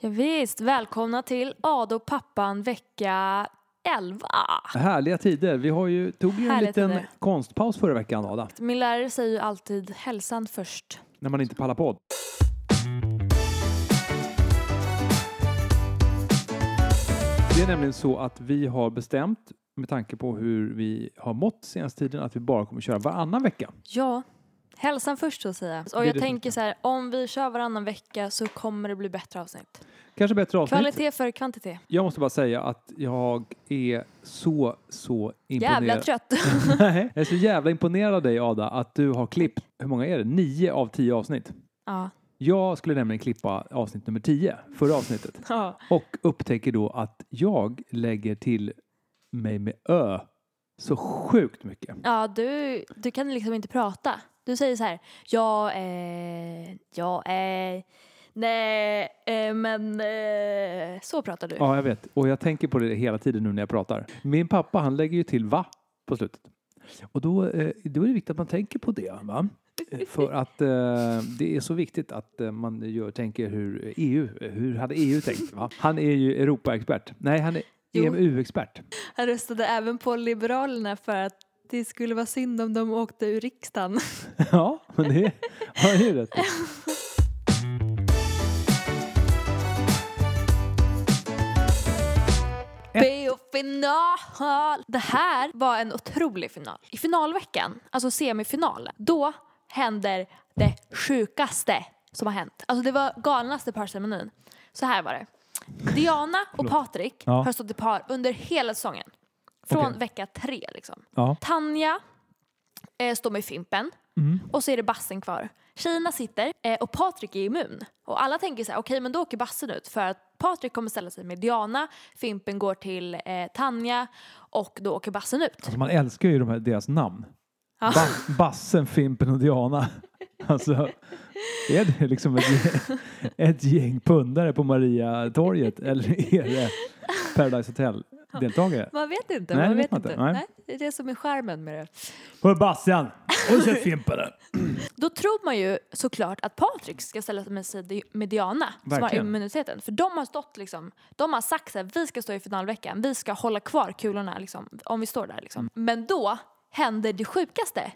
Ja, visst, välkomna till Ado pappan vecka 11. Härliga tider. Vi har ju, tog ju en Härliga liten tider. konstpaus förra veckan, Ada, Min lärare säger ju alltid hälsan först. när man inte pallar podd. Det är nämligen så att vi har bestämt, med tanke på hur vi har mått senaste tiden, att vi bara kommer köra varannan vecka. Ja, hälsan först så att säga. är Och jag det som tänker så här, om vi kör varannan vecka så kommer det bli bättre avsnitt. Kanske bättre avsnitt. Kvalitet för kvantitet. Jag måste bara säga att jag är så, så imponerad. Jävla trött. Nej, jag är så jävla imponerad av dig, Ada, att du har klippt, hur många är det? Nio av tio avsnitt. ja. Jag skulle nämligen klippa avsnitt nummer 10, förra avsnittet. ja. Och upptäcker då att jag lägger till mig med ö så sjukt mycket. Ja, du, du kan liksom inte prata. Du säger så här, ja, eh, ja, eh, nej, eh, men eh, så pratar du. Ja, jag vet. Och jag tänker på det hela tiden nu när jag pratar. Min pappa, han lägger ju till va på slutet. Och då, eh, då är det viktigt att man tänker på det. Va? Eh, För att eh, det är så viktigt att eh, man gör, tänker hur EU, hur hade EU tänkt? Va? Han är ju Europaexpert. Nej, han är E Jo. EMU-expert. Han röstade även på Liberalerna för att det skulle vara synd om de åkte ur riksdagen. Ja, men det har jag ju rätt i. Biofinal! Det här var en otrolig final. I finalveckan, alltså semifinalen, då händer det sjukaste som har hänt. Alltså det var galnaste parceremonin. Så här var det. Diana och Patrik Ja. har stått i par under hela säsongen. Från Okej. vecka tre liksom. Ja. Tanja eh, står med Fimpen och så är det bassen kvar. Kina sitter eh, och Patrik är immun. Och alla tänker så här, okej men då åker bassen ut för att Patrik kommer ställa sig med Diana, Fimpen går till eh, Tanja och då åker bassen ut. Alltså man älskar ju de här, deras namn. Ja. Ba- Bassen, Fimpen och Diana. Alltså, är det liksom ett, gäng- ett gäng pundare på Mariatorget eller är det Paradise Hotel-deltagare? Man vet inte, Nej, det man vet vet man inte. inte. Nej. Nej, det är det som är skärmen med det. Hör Bassian! Har du sett Fimpen? där? Då tror man ju såklart att Patrik ska ställa sig med, sig med Diana som har Verkligen. immuniteten. För de har stått liksom, de har sagt så här, vi ska stå i finalveckan, vi ska hålla kvar kulorna liksom, om vi står där liksom. Mm. Men då händer det sjukaste.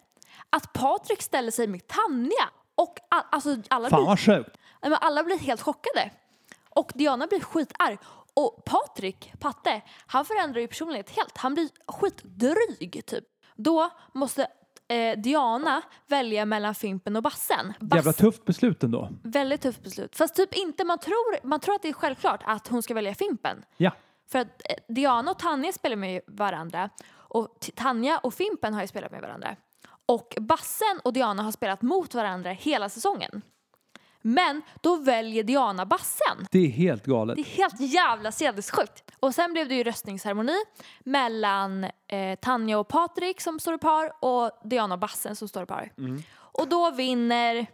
Att Patrik ställer sig med Tanja och all, alltså, alla, Fan blir, vad sjukt! nej, men alla blir helt chockade. Och Diana blir skitarg. Och Patrik, Patte, han förändrar ju personlighet helt. Han blir skitdryg typ. Då måste eh, Diana välja mellan Fimpen och Bassen. Jävla Bass- tufft beslut ändå. Väldigt tufft beslut. Fast typ inte, man tror, man tror att det är självklart att hon ska välja Fimpen. Ja, För att eh, Diana och Tanja spelar med varandra och T- Tanja och Fimpen har ju spelat med varandra. Och Bassen och Diana har spelat mot varandra hela säsongen. Men då väljer Diana Bassen. det är helt galet. Det är helt jävla sinnessjukt. Och sen blev det ju röstningsceremoni mellan eh, Tanja och Patrik som står i par och Diana och Bassen som står i par. Och då vinner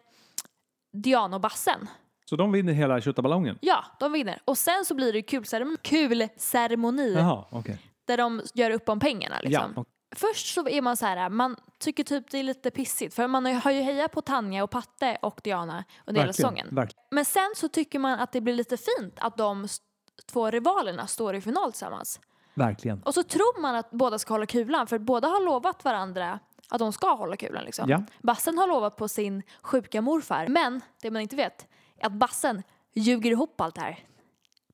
Diana och Bassen. Så de vinner hela tjottaballongen? Ja, de vinner. Och sen så blir det kulceremoni, kulceremoni Jaha, okej. där de gör upp om pengarna. Liksom. Ja, och- Först så är man så här, man tycker typ det är lite pissigt för man har ju hejat på Tanja och Patte och Diana under hela säsongen. verkligen. Men sen så tycker man att det blir lite fint att de s- två rivalerna står i final tillsammans. verkligen. Och så tror man att båda ska hålla kulan för båda har lovat varandra att de ska hålla kulan. Liksom. Ja. Bassen har lovat på sin sjuka morfar. Men det man inte vet är att Bassen ljuger ihop allt det här.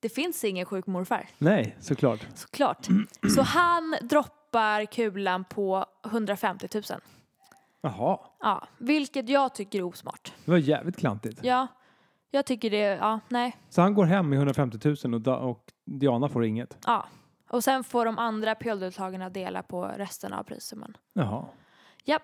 Det finns ingen sjuk morfar. Nej, såklart. Såklart. Så han droppar kulan på 150 000. Jaha, Ja, vilket jag tycker är osmart. det var jävligt klantigt. Ja, jag tycker det, ja, nej. Så han går hem med 150 000 och, da- och Diana får inget? Ja. Och sen får de andra pöldeltagarna dela på resten av prissumman. Jaha. Japp.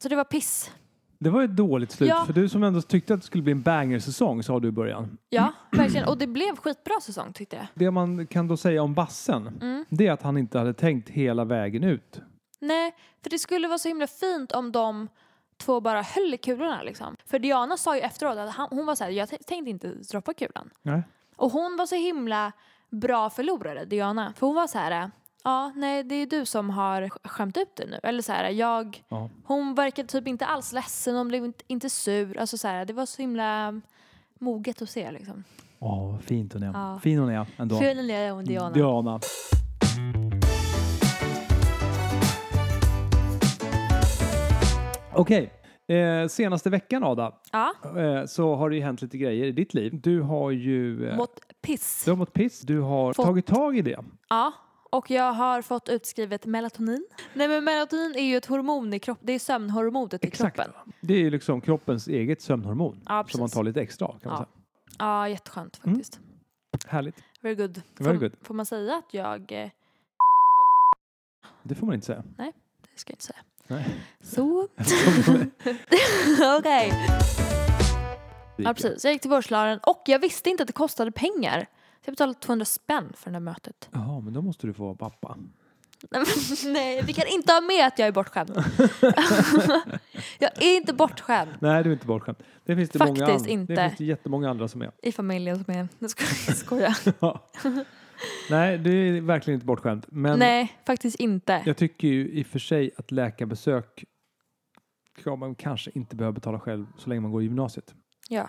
Så det var piss. Det var ett dåligt slut. Ja. För du som ändå tyckte att det skulle bli en banger-säsong sa du i början. Ja, verkligen. Och det blev skitbra säsong tyckte jag. Det man kan då säga om bassen, Mm. det är att han inte hade tänkt hela vägen ut. Nej, för det skulle vara så himla fint om de två bara höll i kulorna liksom. För Diana sa ju efteråt att han, hon var såhär, jag t- tänkte inte droppa kulan. Nej. Och hon var så himla bra förlorare, Diana. För hon var så här, ja, nej, det är du som har sk- skämt ut dig nu. Eller så här, jag... Ja. Hon verkade typ inte alls ledsen, hon blev inte, inte sur. Alltså så här, det var så himla moget att se liksom. Åh, vad fint hon är. Ja. Fin hon är ändå. Skön är jag om Diana. Diana. Okej. Eh, senaste veckan, Ada, Ja. eh, så har det ju hänt lite grejer i ditt liv. Du har ju... Eh, Mått piss. du har mått piss. Du har Fått- tagit tag i det. Ja. Och jag har fått utskrivet melatonin. Nej men melatonin är ju ett hormon i kroppen. Det är sömnhormonet i kroppen. Det är ju liksom kroppens eget sömnhormon Ja, som man precis. tar lite extra av, kan man Ja. Ja, jätteskönt faktiskt. säga. Härligt. Very good. Very får, good. får man säga att jag... eh, Det får man inte säga. Det ska jag inte säga. Nej. Så. Okej. Ja, precis. Jag gick till börslaren och jag visste inte att det kostade pengar. Så jag betalade 200 spänn för det här mötet. Jaha, men då måste du få vara pappa. Nej, men- Nej, vi kan inte ha med att jag är bortskämd. jag är inte bortskämd Nej, du är inte bortskämd. Det finns det många Faktiskt andra. inte. Det finns det jättemånga andra som är. i familjen som är... Nu ska jag skoja. Ja. Nej, du är verkligen inte bortskämd. Men Nej, faktiskt inte. jag tycker ju i och för sig att läkarbesök ska man kanske inte behöva betala själv så länge man går i gymnasiet. Kan Ja.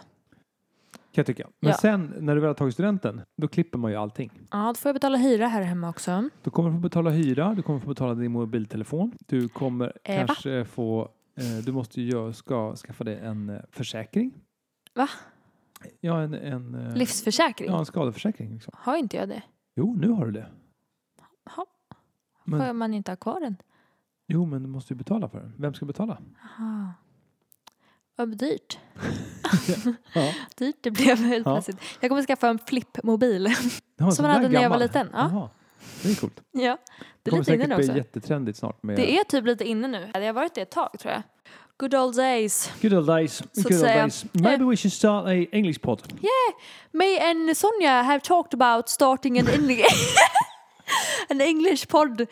jag tycka. Men Ja. sen när du väl har tagit studenten, då klipper man ju allting. ja, då får jag betala hyra här hemma också. Du kommer få betala hyra, du kommer få betala din mobiltelefon. Du kommer Eh, va? kanske få... Eh, du måste ju göra, ska, skaffa dig en eh, försäkring. Va? Ja, en... en eh, Livsförsäkring. Ja, en skadeförsäkring. Liksom. Har inte jag det? Jo, nu har du det. Jaha. Men- Får man inte ha kvar den? Jo, men du måste ju betala för den. Vem ska betala? Jaha. Vad dyrt. Ja. Dyrt det blev helt Ja. plötsligt. Jag kommer skaffa en flippmobil. Ja, Som den man där hade när jag gammal. var liten, ja. Jaha. Det är coolt. Ja, det är kommer lite inne nu säkert också. bli jättetrendigt snart. Med Det är typ lite inne nu. Det har varit det ett tag tror jag. Good old days. Good old days. att Good old säga. Eh. days. Maybe we should start a English pod. Me and Sonja have talked about starting an, Eng- an English podd.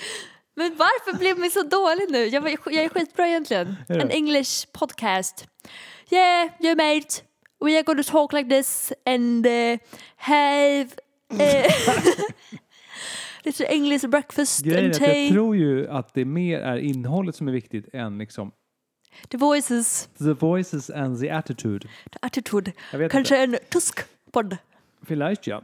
Men varför blev mig så dålig nu? Jag, var, jag är skitbra egentligen. Är du? An English podcast. Yeah, you mate. We are going to talk like this and uh, have uh, little English breakfast Grejen är and att jag tea. tror ju att det mer är innehållet som är viktigt än liksom The voices, the voices and the attitude. the attitude. Jag vet Kanske en tysk podd. inte. Vielleicht ja.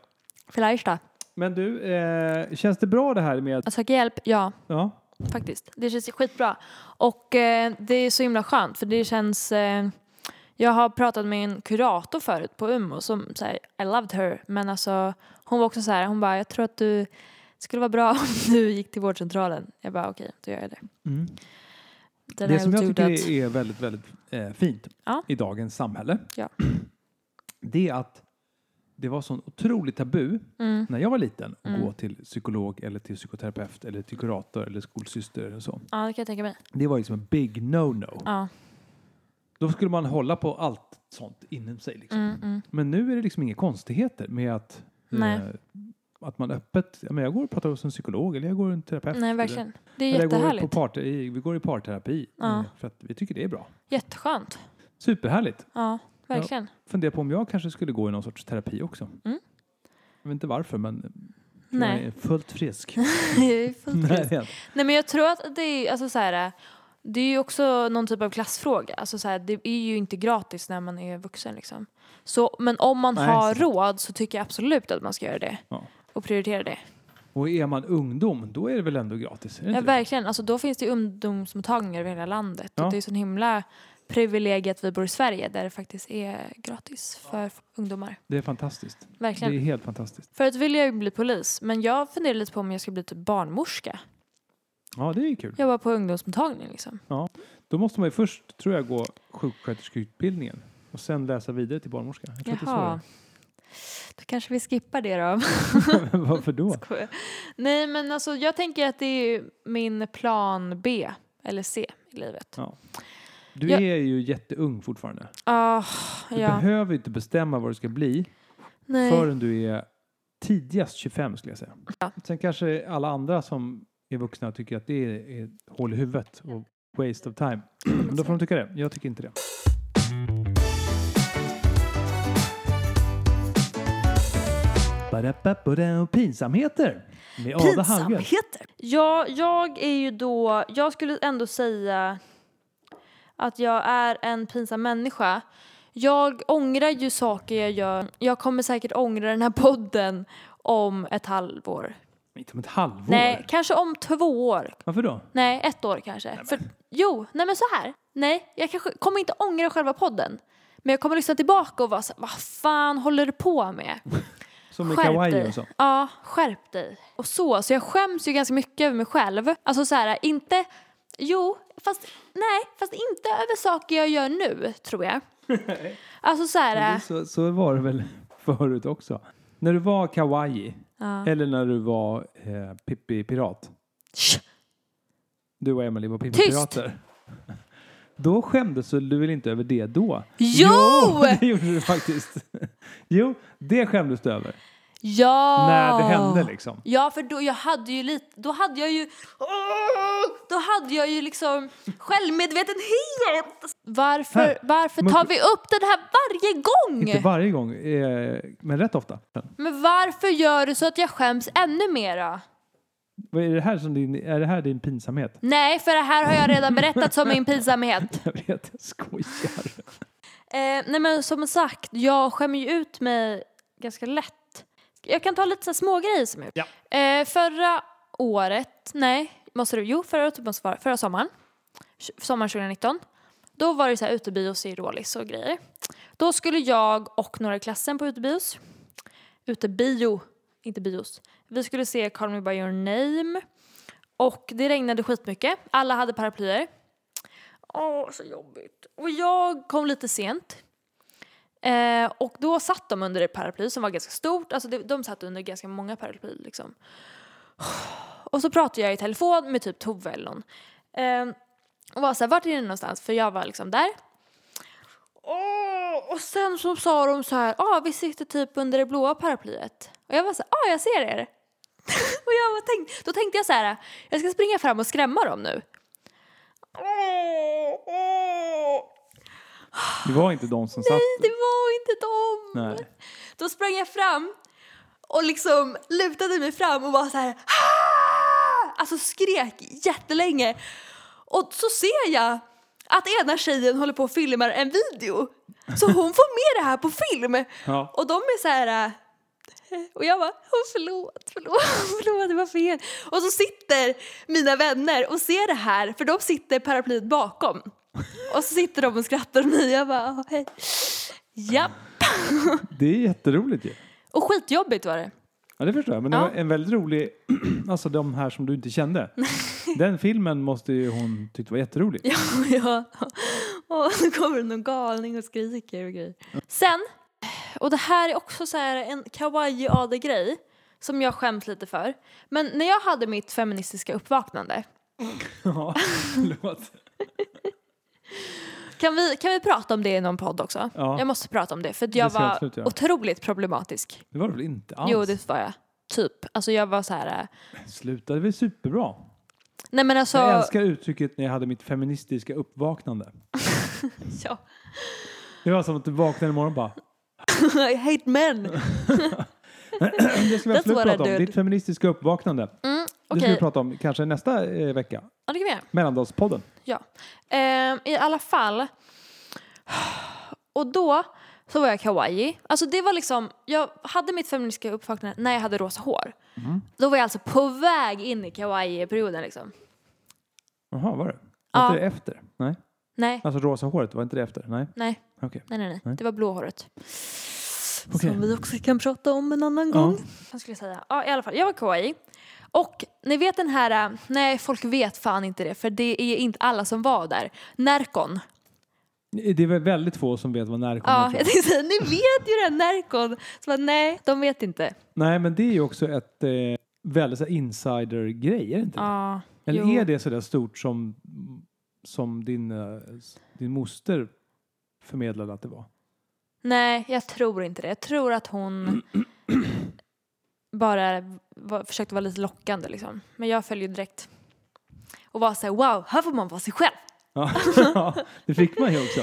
Vielleicht da. Men du, eh, känns det bra det här med... Jag söker alltså hjälp, ja. Ja. faktiskt. Det känns skitbra. Och eh, det är så himla skönt för det känns... Eh, jag har pratat med en kurator förut på Umeå som säger I loved her. Men alltså hon var också så här, hon bara jag tror att du det skulle vara bra om du gick till vårdcentralen. Jag bara okej, då gör jag det. Mm. Den det här som jag tycker oturen. är väldigt, väldigt eh, fint Ja. i dagens samhälle, Ja. det är att det var sån otroligt tabu Mm. när jag var liten att Mm. gå till psykolog eller till psykoterapeut eller till kurator eller skolsyster eller så. Ja, det kan jag tänka mig. Det var liksom en big no-no. Ja. Då skulle man hålla på allt sånt inom sig. Liksom. Mm, mm. Men nu är det liksom inga konstigheter med att, eh, Nej. att man öppet, ja, men jag går och pratar hos en psykolog eller jag går en terapeut. Nej, eller- verkligen. Det är Eller jag går på jättehärligt. part, i- vi går i parterapi Ja. eh, för att vi tycker det är bra. Jätteskönt. Superhärligt. Ja, verkligen. funderar på om jag kanske skulle gå i någon sorts terapi också. Mm. Jag vet inte varför, men jag Nej. är fullt frisk. Jag är fullt Nej, det är jag inte. Nej men jag tror att det är, alltså så här, det är ju också någon typ av klassfråga. Alltså så här, det är ju inte gratis när man är vuxen liksom. Så, men om man Nej, har så- råd så tycker jag absolut att man ska göra det. Ja. Och prioritera det. och är man ungdom, då är det väl ändå gratis? Är det Ja, inte det? verkligen, alltså då finns det ju ungdomsmottagningar över hela landet. Ja. Och det är sån himla privilegie att vi bor i Sverige där det faktiskt är gratis för ungdomar. det är fantastiskt. Det Verkligen. är helt fantastiskt. Förut ville jag ju bli polis men jag funderar lite på om jag ska bli typ barnmorska. Ja, det är ju kul. Jobba på ungdomsmottagning liksom. Då måste man ju först, tror jag, gå sjuksköterskeutbildningen och sen läsa vidare till barnmorska. Jag tror att det är Jaha. Då kanske vi skippar det då. svårare. Men Varför då? Skojar. Nej men alltså jag tänker att det är min plan B eller C i livet. Ja. Du Jag- är ju jätteung fortfarande. Ah, Du ja. behöver ju inte bestämma vad du ska bli Nej. förrän du är tidigast 25 skulle jag säga. Ja. Sen kanske alla andra som är vuxna tycker att det är, är hål i huvudet och waste of time. Men då får de tycka det. Jag tycker inte det. Ba-da-ba-ba-da, Pinsamheter med Ada Hallgren. Ja, jag är ju då, jag skulle ändå säga att jag är en pinsam människa. Jag ångrar ju saker jag gör. Jag kommer säkert ångra den här podden om ett halvår. Inte om ett halvår? Nej, kanske om två år. Varför då? Nej, ett år kanske. För, jo, nej men så här. Nej, jag kanske kommer inte ångra själva podden. Men jag kommer lyssna tillbaka och vara så här, vad fan håller du på med? Som i Skärp kawaii dig. och så? Ja, skärp dig. Och så, så jag skäms ju ganska mycket över mig själv. Alltså så här, inte, jo, fast nej, fast inte över saker jag gör nu, tror jag. Alltså så Men det- här, så? Så var det väl förut också? När du var kawaii, ja. eller när du var eh, Pippi Pirat, Sch, du och Emily var Pippi Tyst! Pirater. Då skämdes du väl inte över det då? Jo! det gjorde du faktiskt. Jo, det skämdes du över. Ja! När det hände liksom. Ja, för då, jag hade ju lite, då hade jag ju, då hade jag ju liksom självmedvetenhet. Varför, Här. varför Men- tar vi upp den här varje Inte gång? varje gång, eh, men rätt ofta. Men varför gör du så att jag skäms ännu mera? Vad Är det här, som din, är det här din pinsamhet? Nej, för det här har jag redan berättat som min pinsamhet. Jag vet, jag skojar. Eh, nej men som sagt, jag skämmer ju ut mig ganska lätt. Jag kan ta lite så här små grejer som jag Ja. eh, Förra året, nej, måste du, jo förra året typ måste vara, förra sommaren, tj- sommaren 2019, då var det så här utebios i Rålis och grejer. Då skulle jag och några i klassen på utebios, utebio, inte bios, vi skulle se Call Me By Your Name och det regnade skitmycket, alla hade paraplyer. Åh, så jobbigt. Och jag kom lite sent. Eh, och då satt de under ett paraply som var ganska stort. Alltså det, de satt under ganska många paraply liksom. Och så pratade jag i telefon med typ Tove eller någon. Eh, och var såhär, vart är ni någonstans? För jag var liksom där. Åh, och sen så sa de så här, ah, vi sitter typ under det blåa paraplyet. Och jag var så här, ah, jag ser er. och jag var tänk, då tänkte jag så här, jag ska springa fram och skrämma dem nu. Det var inte de som satt. Nej, det var inte dem! Nej. Då sprang jag fram och liksom lutade mig fram och bara så här "Ah!" Alltså skrek jättelänge. Och så ser jag att ena tjejen håller på och filmar en video. Så hon får med det här på film. Ja. Och de är så här... äh, Och jag bara, oh, förlåt, förlåt, förlåt, det var fel. Och så sitter mina vänner och ser det här, för de sitter paraplyet bakom. Och så sitter de och skrattar och mig, jag bara, oh, hej. Japp. Det är jätteroligt ju. Och skitjobbigt var det. Ja, det förstår jag. Men det Ja. var en väldigt rolig, alltså de här som du inte kände. Den filmen måste ju hon tyckt var jätterolig. Ja, ja. Och nu kommer det någon galning och skriker och grejer. Mm. Sen, och det här är också så här en kawaii-ade-grej som jag skämt lite för. Men när jag hade mitt feministiska uppvaknande, Ja, förlåt. Kan vi, kan vi prata om det i någon podd också? Ja. Jag måste prata om det för att jag Det ska jag var absolut göra. otroligt problematisk. Det var det väl inte alls? Jo, det var jag. Typ. Alltså jag var så här. äh, slutade väl superbra. Nej men alltså. Jag älskar uttrycket när jag hade mitt feministiska uppvaknande. Ja. Det var som att du vaknade imorgon och bara I hate men. Det ska vi That's absolut what I prata om. did. Ditt feministiska uppvaknande. Mm, Det ska Okej, vi prata om kanske nästa eh, vecka. ja, det kan vi göra. Mellandagspodden. Ja. Ehm, I alla fall. Och då så var jag kawaii. Alltså det var liksom, jag hade mitt feministiska uppvaknande när jag hade rosa hår. Mm. Då var jag alltså på väg in i kawaii-perioden liksom. Jaha, var det? Var Ja. inte det efter? Nej. Nej, Alltså rosa håret, var inte det efter? Nej. nej, Okej. nej, nej, nej. Nej. Det var blåhåret. Okej. Som vi också kan prata om en annan Ja. gång. Vad skulle jag säga? Ja, i alla fall. Jag var kawaii. Och ni vet den här, äh, nej folk vet fan inte det för det är inte alla som var där. Närkon. Det är väl väldigt få som vet vad närkon Ja, är. tror jag jag. tänkte säga, ni vet ju den Närkon. Så bara, nej, de vet inte. Nej, men det är ju också ett eh, väldigt så här insider-grej, är det inte? det? Ja, Eller jo. är det sådär stort som, som din, eh, s- din moster förmedlade att det var? Nej, jag tror inte det. Jag tror att hon bara var, försökte vara lite lockande liksom. Men jag följde ju direkt. Och var såhär, wow, här får man vara sig själv. Ja, det fick man ju också.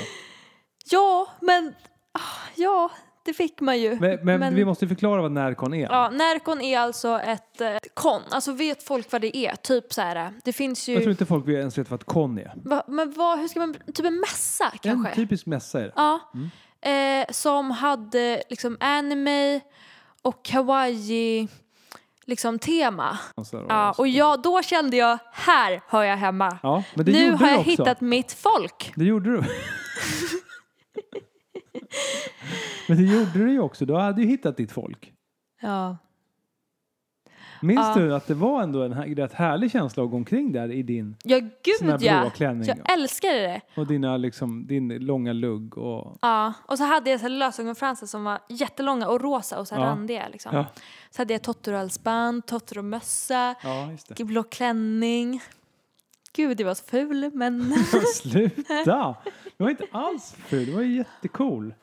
Ja, men ah, ja, det fick man ju. Men, men, Men- vi måste förklara vad närkon är. Ja, Närkon är alltså ett eh, kon. Alltså vet folk vad det är? Typ så här, eh, det finns Jag tror ju... inte folk ens vet vad ett kon är. Va, men vad, hur ska man... Typ en mässa En Mm. kanske? typisk mässa är det. Ja. eh, som hade liksom anime och kawaii liksom tema. Och så- Ja, och jag, då kände jag, här hör jag hemma. alltså. ja, men det Nu gjorde har du jag också. hittat mitt folk. Det gjorde du. men det gjorde du ju också. Du hade ju hittat ditt folk. Ja. Minns Ja. du att det var ändå en här- rätt härlig känsla att gå omkring där i din, Ja, Sån här gud blå ja. klänning. Jag älskade det. och dina, liksom, din långa lugg? Och, Ja, och så hade jag så här lösögonfransar som var jättelånga och rosa och så här Ja. randiga. Liksom. ja. Så hade jag Totoro-halsband, Totoro-mössa, ja, just det. blå klänning. Gud, det var så ful, men Sluta! Du var inte alls ful, du var ju jättecool.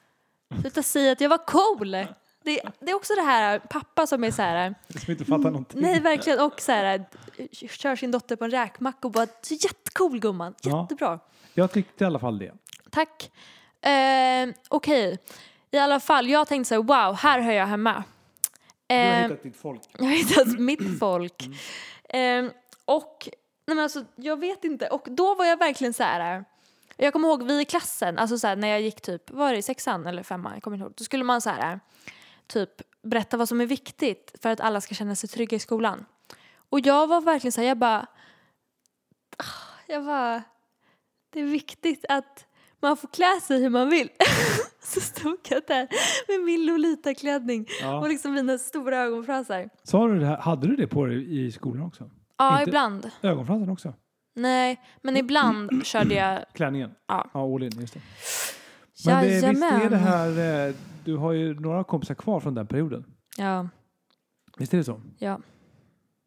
sluta säga att jag var cool. Det, det är också det här pappa som är så här, Som inte fattar någonting. Mm, nej verkligen, och så här, kör sin dotter på en räkmacka och bara, så jättecool gumman, Ja. jättebra. Jag tyckte i alla fall det. Tack. Eh, Okej, i alla fall, jag tänkte så här, wow, här hör jag hemma. Du har Eh, hittat ditt folk. Jag har hittat mitt folk. Ehm, och nej men alltså, jag vet inte. Och då var jag verkligen så här. Jag kommer ihåg vi i klassen, alltså så här, när jag gick typ, var det i sexan eller femman? Jag kommer inte ihåg. Då skulle man så här, typ berätta vad som är viktigt för att alla ska känna sig trygga i skolan. Och jag var verkligen så här, jag bara, ah, jag bara, det är viktigt att man får klä sig hur man vill. så stod jag där med min Lolita-klänning och Ja. liksom mina stora ögonfransar. Sa du det här, hade du det på dig i skolan också? Ja, Inte- Mm. ibland. Ögonfransen också? Nej, men ibland körde jag... Klänningen? Ja. ja all in, just det. Men det, visst är det Jajamän. här, eh, du har ju några kompisar kvar från den perioden. Ja, Visst är det så? ja.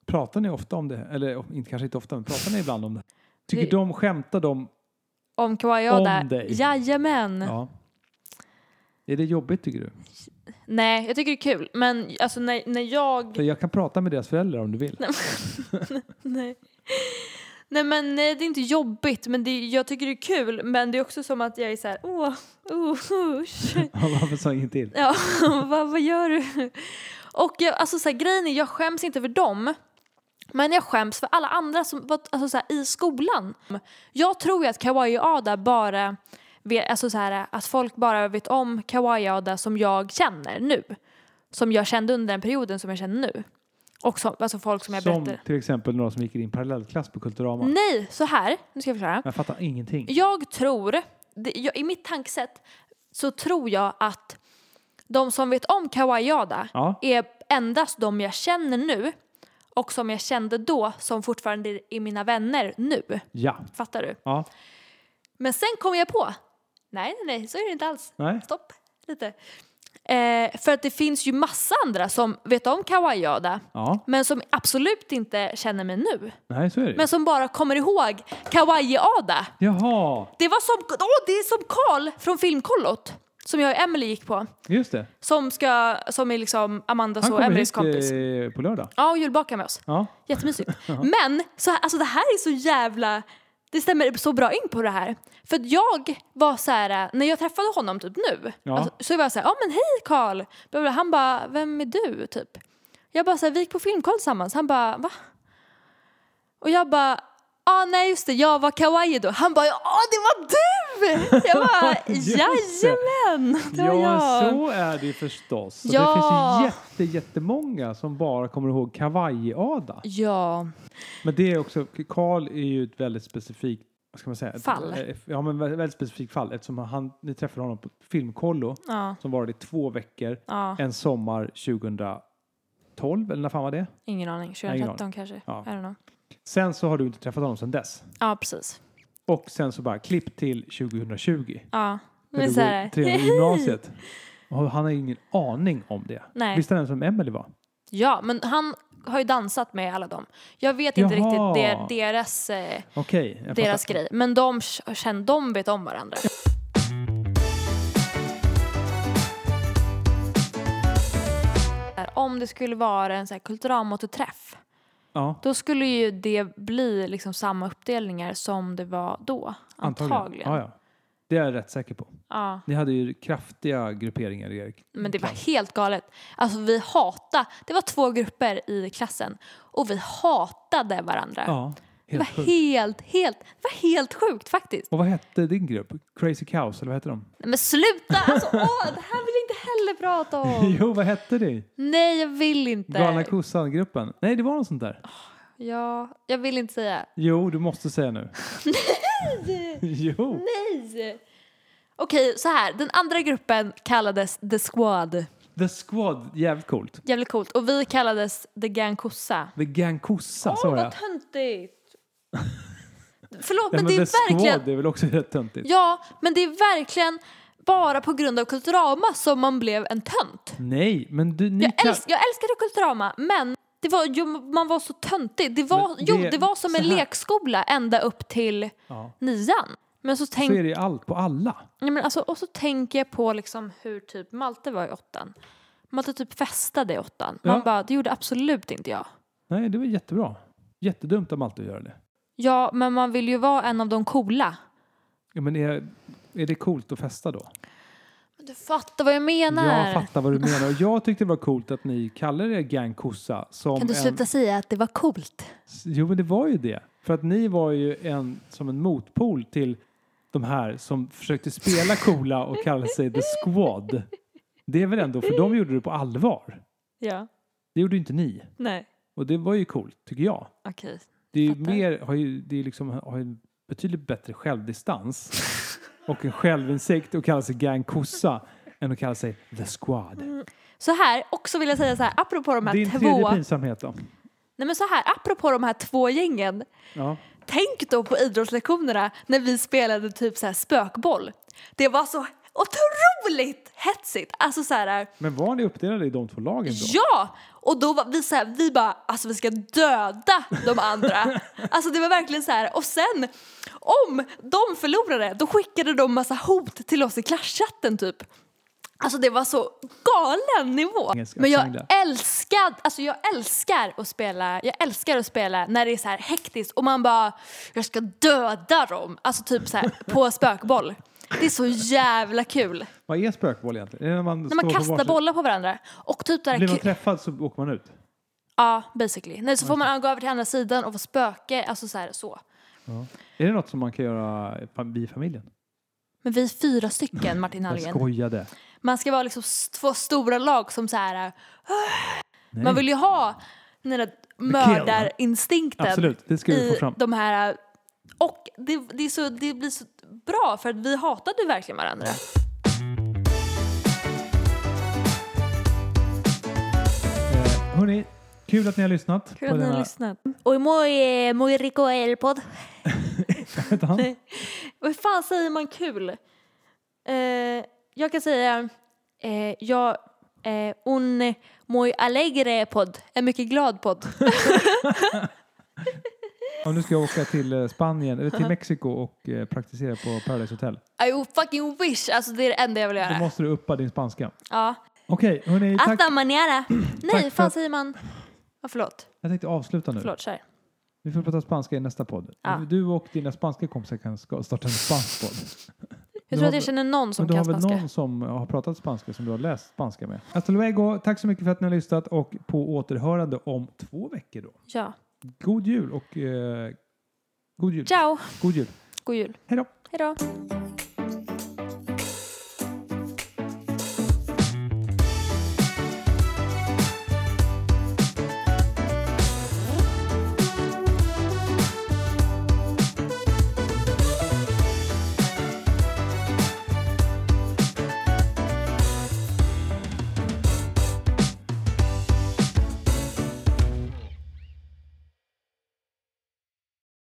Pratar ni ofta om det? Eller oh, inte, kanske inte ofta, men pratar ni ibland om det? Tycker Det- de, skämtar de? Om kawaii jag Om där. dig. Jajamän. Ja. Är det jobbigt tycker du? Nej, jag tycker det är kul. Men alltså när, när jag... För jag kan prata med deras föräldrar om du vill. Nej. Nej men nej, det är inte jobbigt, men det, jag tycker det är kul. Men det är också som att jag är så här, åh, oh, usch. Varför sa ingen till? Ja, vad, vad gör du? Och jag, alltså så här, grejen är, jag skäms inte för dem. Men jag skäms för alla andra som var alltså, så här, i skolan. Jag tror ju att kawaii-Ada bara... vet- Alltså så här, att folk bara vet om kawaii-Ada som jag känner nu. Som jag kände under den perioden som jag känner nu. Och som, alltså folk som jag Som berättar. Mm. till exempel några som gick i din parallellklass på Kulturama. Nej, så här. Nu ska jag förklara. Jag fattar ingenting. Jag tror, det, jag, i mitt tankesätt så tror jag att de som vet om kawaiiada Ja. är endast de jag känner nu och som jag kände då som fortfarande är mina vänner nu. Ja. Fattar du? Ja. Men sen kom jag på, nej nej nej så är det inte alls. Nej. Stopp lite. Eh, för att det finns ju massa andra som vet om kawaiiada Ja. men som absolut inte känner mig nu. Nej, så är det. Men som bara kommer ihåg kawaiiada. Jaha, Det var som, åh, det är som Karl från Filmkollot som jag och Emily gick på. just det. Som, ska, som är liksom Amandas Han och kommer Emelies hit kompis. eh, på lördag. Ja, och julbakar med oss. Ja. Jättemysigt. Men så, här- alltså, det här är så jävla... Det stämmer så bra in på det här. För att jag var så här, eh, när jag träffade honom typ nu, Ja. alltså, så var jag så här, ja men hej Karl. Bla, bla, bla. Han bara, vem är du? Typ. Jag bara så här, vi gick på filmkoll tillsammans. Han bara, va? Och jag bara, ah, nej just det, jag var kawaii då. Han bara, ja det var du! Jag bara, Just det. jajamän! Det var Ja, jag. så är det ju förstås. Så Det Ja. finns ju jätte, jättemånga som bara kommer ihåg kavaj-Ada. Ja, Men det är också, Karl är ju ett väldigt specifikt vad ska man säga? Ett- Fall. eh, Ja, men vä- väldigt specifikt fall eftersom han, ni träffade honom på Filmkollo ja, som varade i två veckor ja. en sommar 2012 eller när fan var det? Ingen aning. aning. 2013 kanske. Ja. I don't know. Sen så har du inte träffat honom sedan dess. Ja, precis. Och sen så bara klipp till 2020. Ja. När Men du så går här, i tredje gymnasiet. Och han har ingen aning om det. Nej. Visste han ens vem Emelie var? Ja, men han har ju dansat med alla dem. Jag vet inte Jaha. riktigt det, deras, eh, Okej. jag deras fattar. grej. Men de, k- känner, de vet om varandra. Här, Om det skulle vara en så här kulturamatorträff Ja, då skulle ju det bli liksom samma uppdelningar som det var då. Antagligen. antagligen. Ja, ja. Det är jag rätt säker på. Ja. Ni hade ju kraftiga grupperingar i Erik. Men det var helt galet. Alltså vi hatade, det var två grupper i klassen och vi hatade varandra. Ja. Det Helt var sjukt. helt, helt, det var helt sjukt faktiskt. Och vad hette din grupp? Crazy Cows, eller vad hette de? Nej, men sluta! Alltså, åh, det här vill jag inte heller prata om. jo, vad hette det? Nej, jag vill Galna inte. kossan-gruppen? Nej, det var något sånt där. Ja, jag vill inte säga. Jo, du måste säga nu. jo! Nej! Okej, så här. Den andra gruppen kallades The Squad. The Squad, jävligt coolt. Jävligt coolt. Och vi kallades The Gang Kossa. The Gang Kossa, sa jag. töntigt! Förlåt, Ja, men, det The är verkligen... Squad är väl också rätt töntigt? Ja, men det är verkligen bara på grund av Kulturama som man blev en tönt. Nej, men du, ni Jag, kan- älsk, jag älskade Kulturama, men det var, jo, man var så töntig. Det var, Men det- jo, det var som så en här. lekskola ända upp till Ja. nian. Men så Så tänk, är det ju allt på alla. nej, men alltså, och så tänker jag på liksom hur typ Malte var i åttan. Malte typ festade i åttan. Man Ja. bara, det gjorde absolut inte jag. Nej, det var jättebra. Jättedumt av Malte att göra det. Ja, men man vill ju vara en av de coola. Ja, men är, är det coolt att festa då? Men du fattar vad jag menar. Jag fattar vad du menar. Och jag tyckte det var coolt att ni kallade er Gang Kossa. Som kan du en- sluta säga att det var coolt? Jo, men det var ju det. För att ni var ju en, som en motpol till de här som försökte spela coola och kallade sig The Squad. Det är väl ändå, för de gjorde det på allvar. Ja. Det gjorde ju inte ni. Nej. Och det var ju coolt, tycker jag. Okej. Det är ju Fattar. mer, har ju, det är liksom, har ju betydligt bättre självdistans och en självinsikt att kalla sig Gang Kossa än att kalla sig The Squad. Så här, också vill jag säga så här, apropå de här Din tredje Mm. två... pinsamhet då? Nej men så här, apropå de här två gängen. Ja. Tänk då på idrottslektionerna när vi spelade typ så här spökboll. Det var så otroligt hetsigt. Alltså så här, Men var ni uppdelade i de två lagen då? ja! Och då var vi så här, vi bara, alltså vi ska döda de andra. Alltså det var verkligen så här, och sen om de förlorade då skickade de massa hot till oss i klasschatten typ. Alltså det var så galen nivå. Engelska Men jag accent älskar, alltså jag älskar att spela, jag älskar att spela när det är så här hektiskt och man bara, jag ska döda dem. Alltså typ så här på spökboll. Det är så jävla kul. Vad är spökboll egentligen? Är det när man, När man står på kastar varsin- bollar på varandra. Och typ där Blir man träffad så åker man ut? Ja, basically. Nej, så får man gå över till andra sidan och vara spöke, alltså så här så. Är det något som man kan göra fam- vi i familjen? Men vi är fyra stycken, Martin Jag Hallgren. skojade. Man ska vara liksom s- två stora lag som så här... eh, Nej. Man vill ju ha den där mördarinstinkten Absolut, det ska vi få i fram. de här... eh, Och det, det, är så, det blir så bra för att vi hatade verkligen varandra. Eh, hörni, kul att ni har lyssnat. Kul på att ni denna- har lyssnat. Och muy, muy rico el pod. Vad heter han? Vad fan säger man kul? Eh, jag kan säga, eh, jag, eh, un muy alegre podd, en mycket glad podd. Ja, nu ska jag åka till eh, Spanien, eller till Mexiko och eh, praktisera på Paradise Hotel. I fucking wish, alltså det är det enda jag vill Då göra. måste du uppa din spanska. Ja. Okej, hörni, tack. Hasta mañana. Tack Nej, för fan att- säger man? Ja, förlåt, Jag tänkte avsluta nu. förlåt, kör. Vi får prata spanska i nästa podd. Ja. Du och dina spanska kompisar kan ska- starta en spansk podd. Jag Du tror har att väl- jag känner någon som Men du har kan väl spanska. någon som har pratat spanska som du har läst spanska med? Hasta luego. Tack så mycket för att ni har lyssnat och på återhörande om två veckor då. Ja. God jul och eh, god jul. Ciao, God jul. god jul. Hej då. Hej då.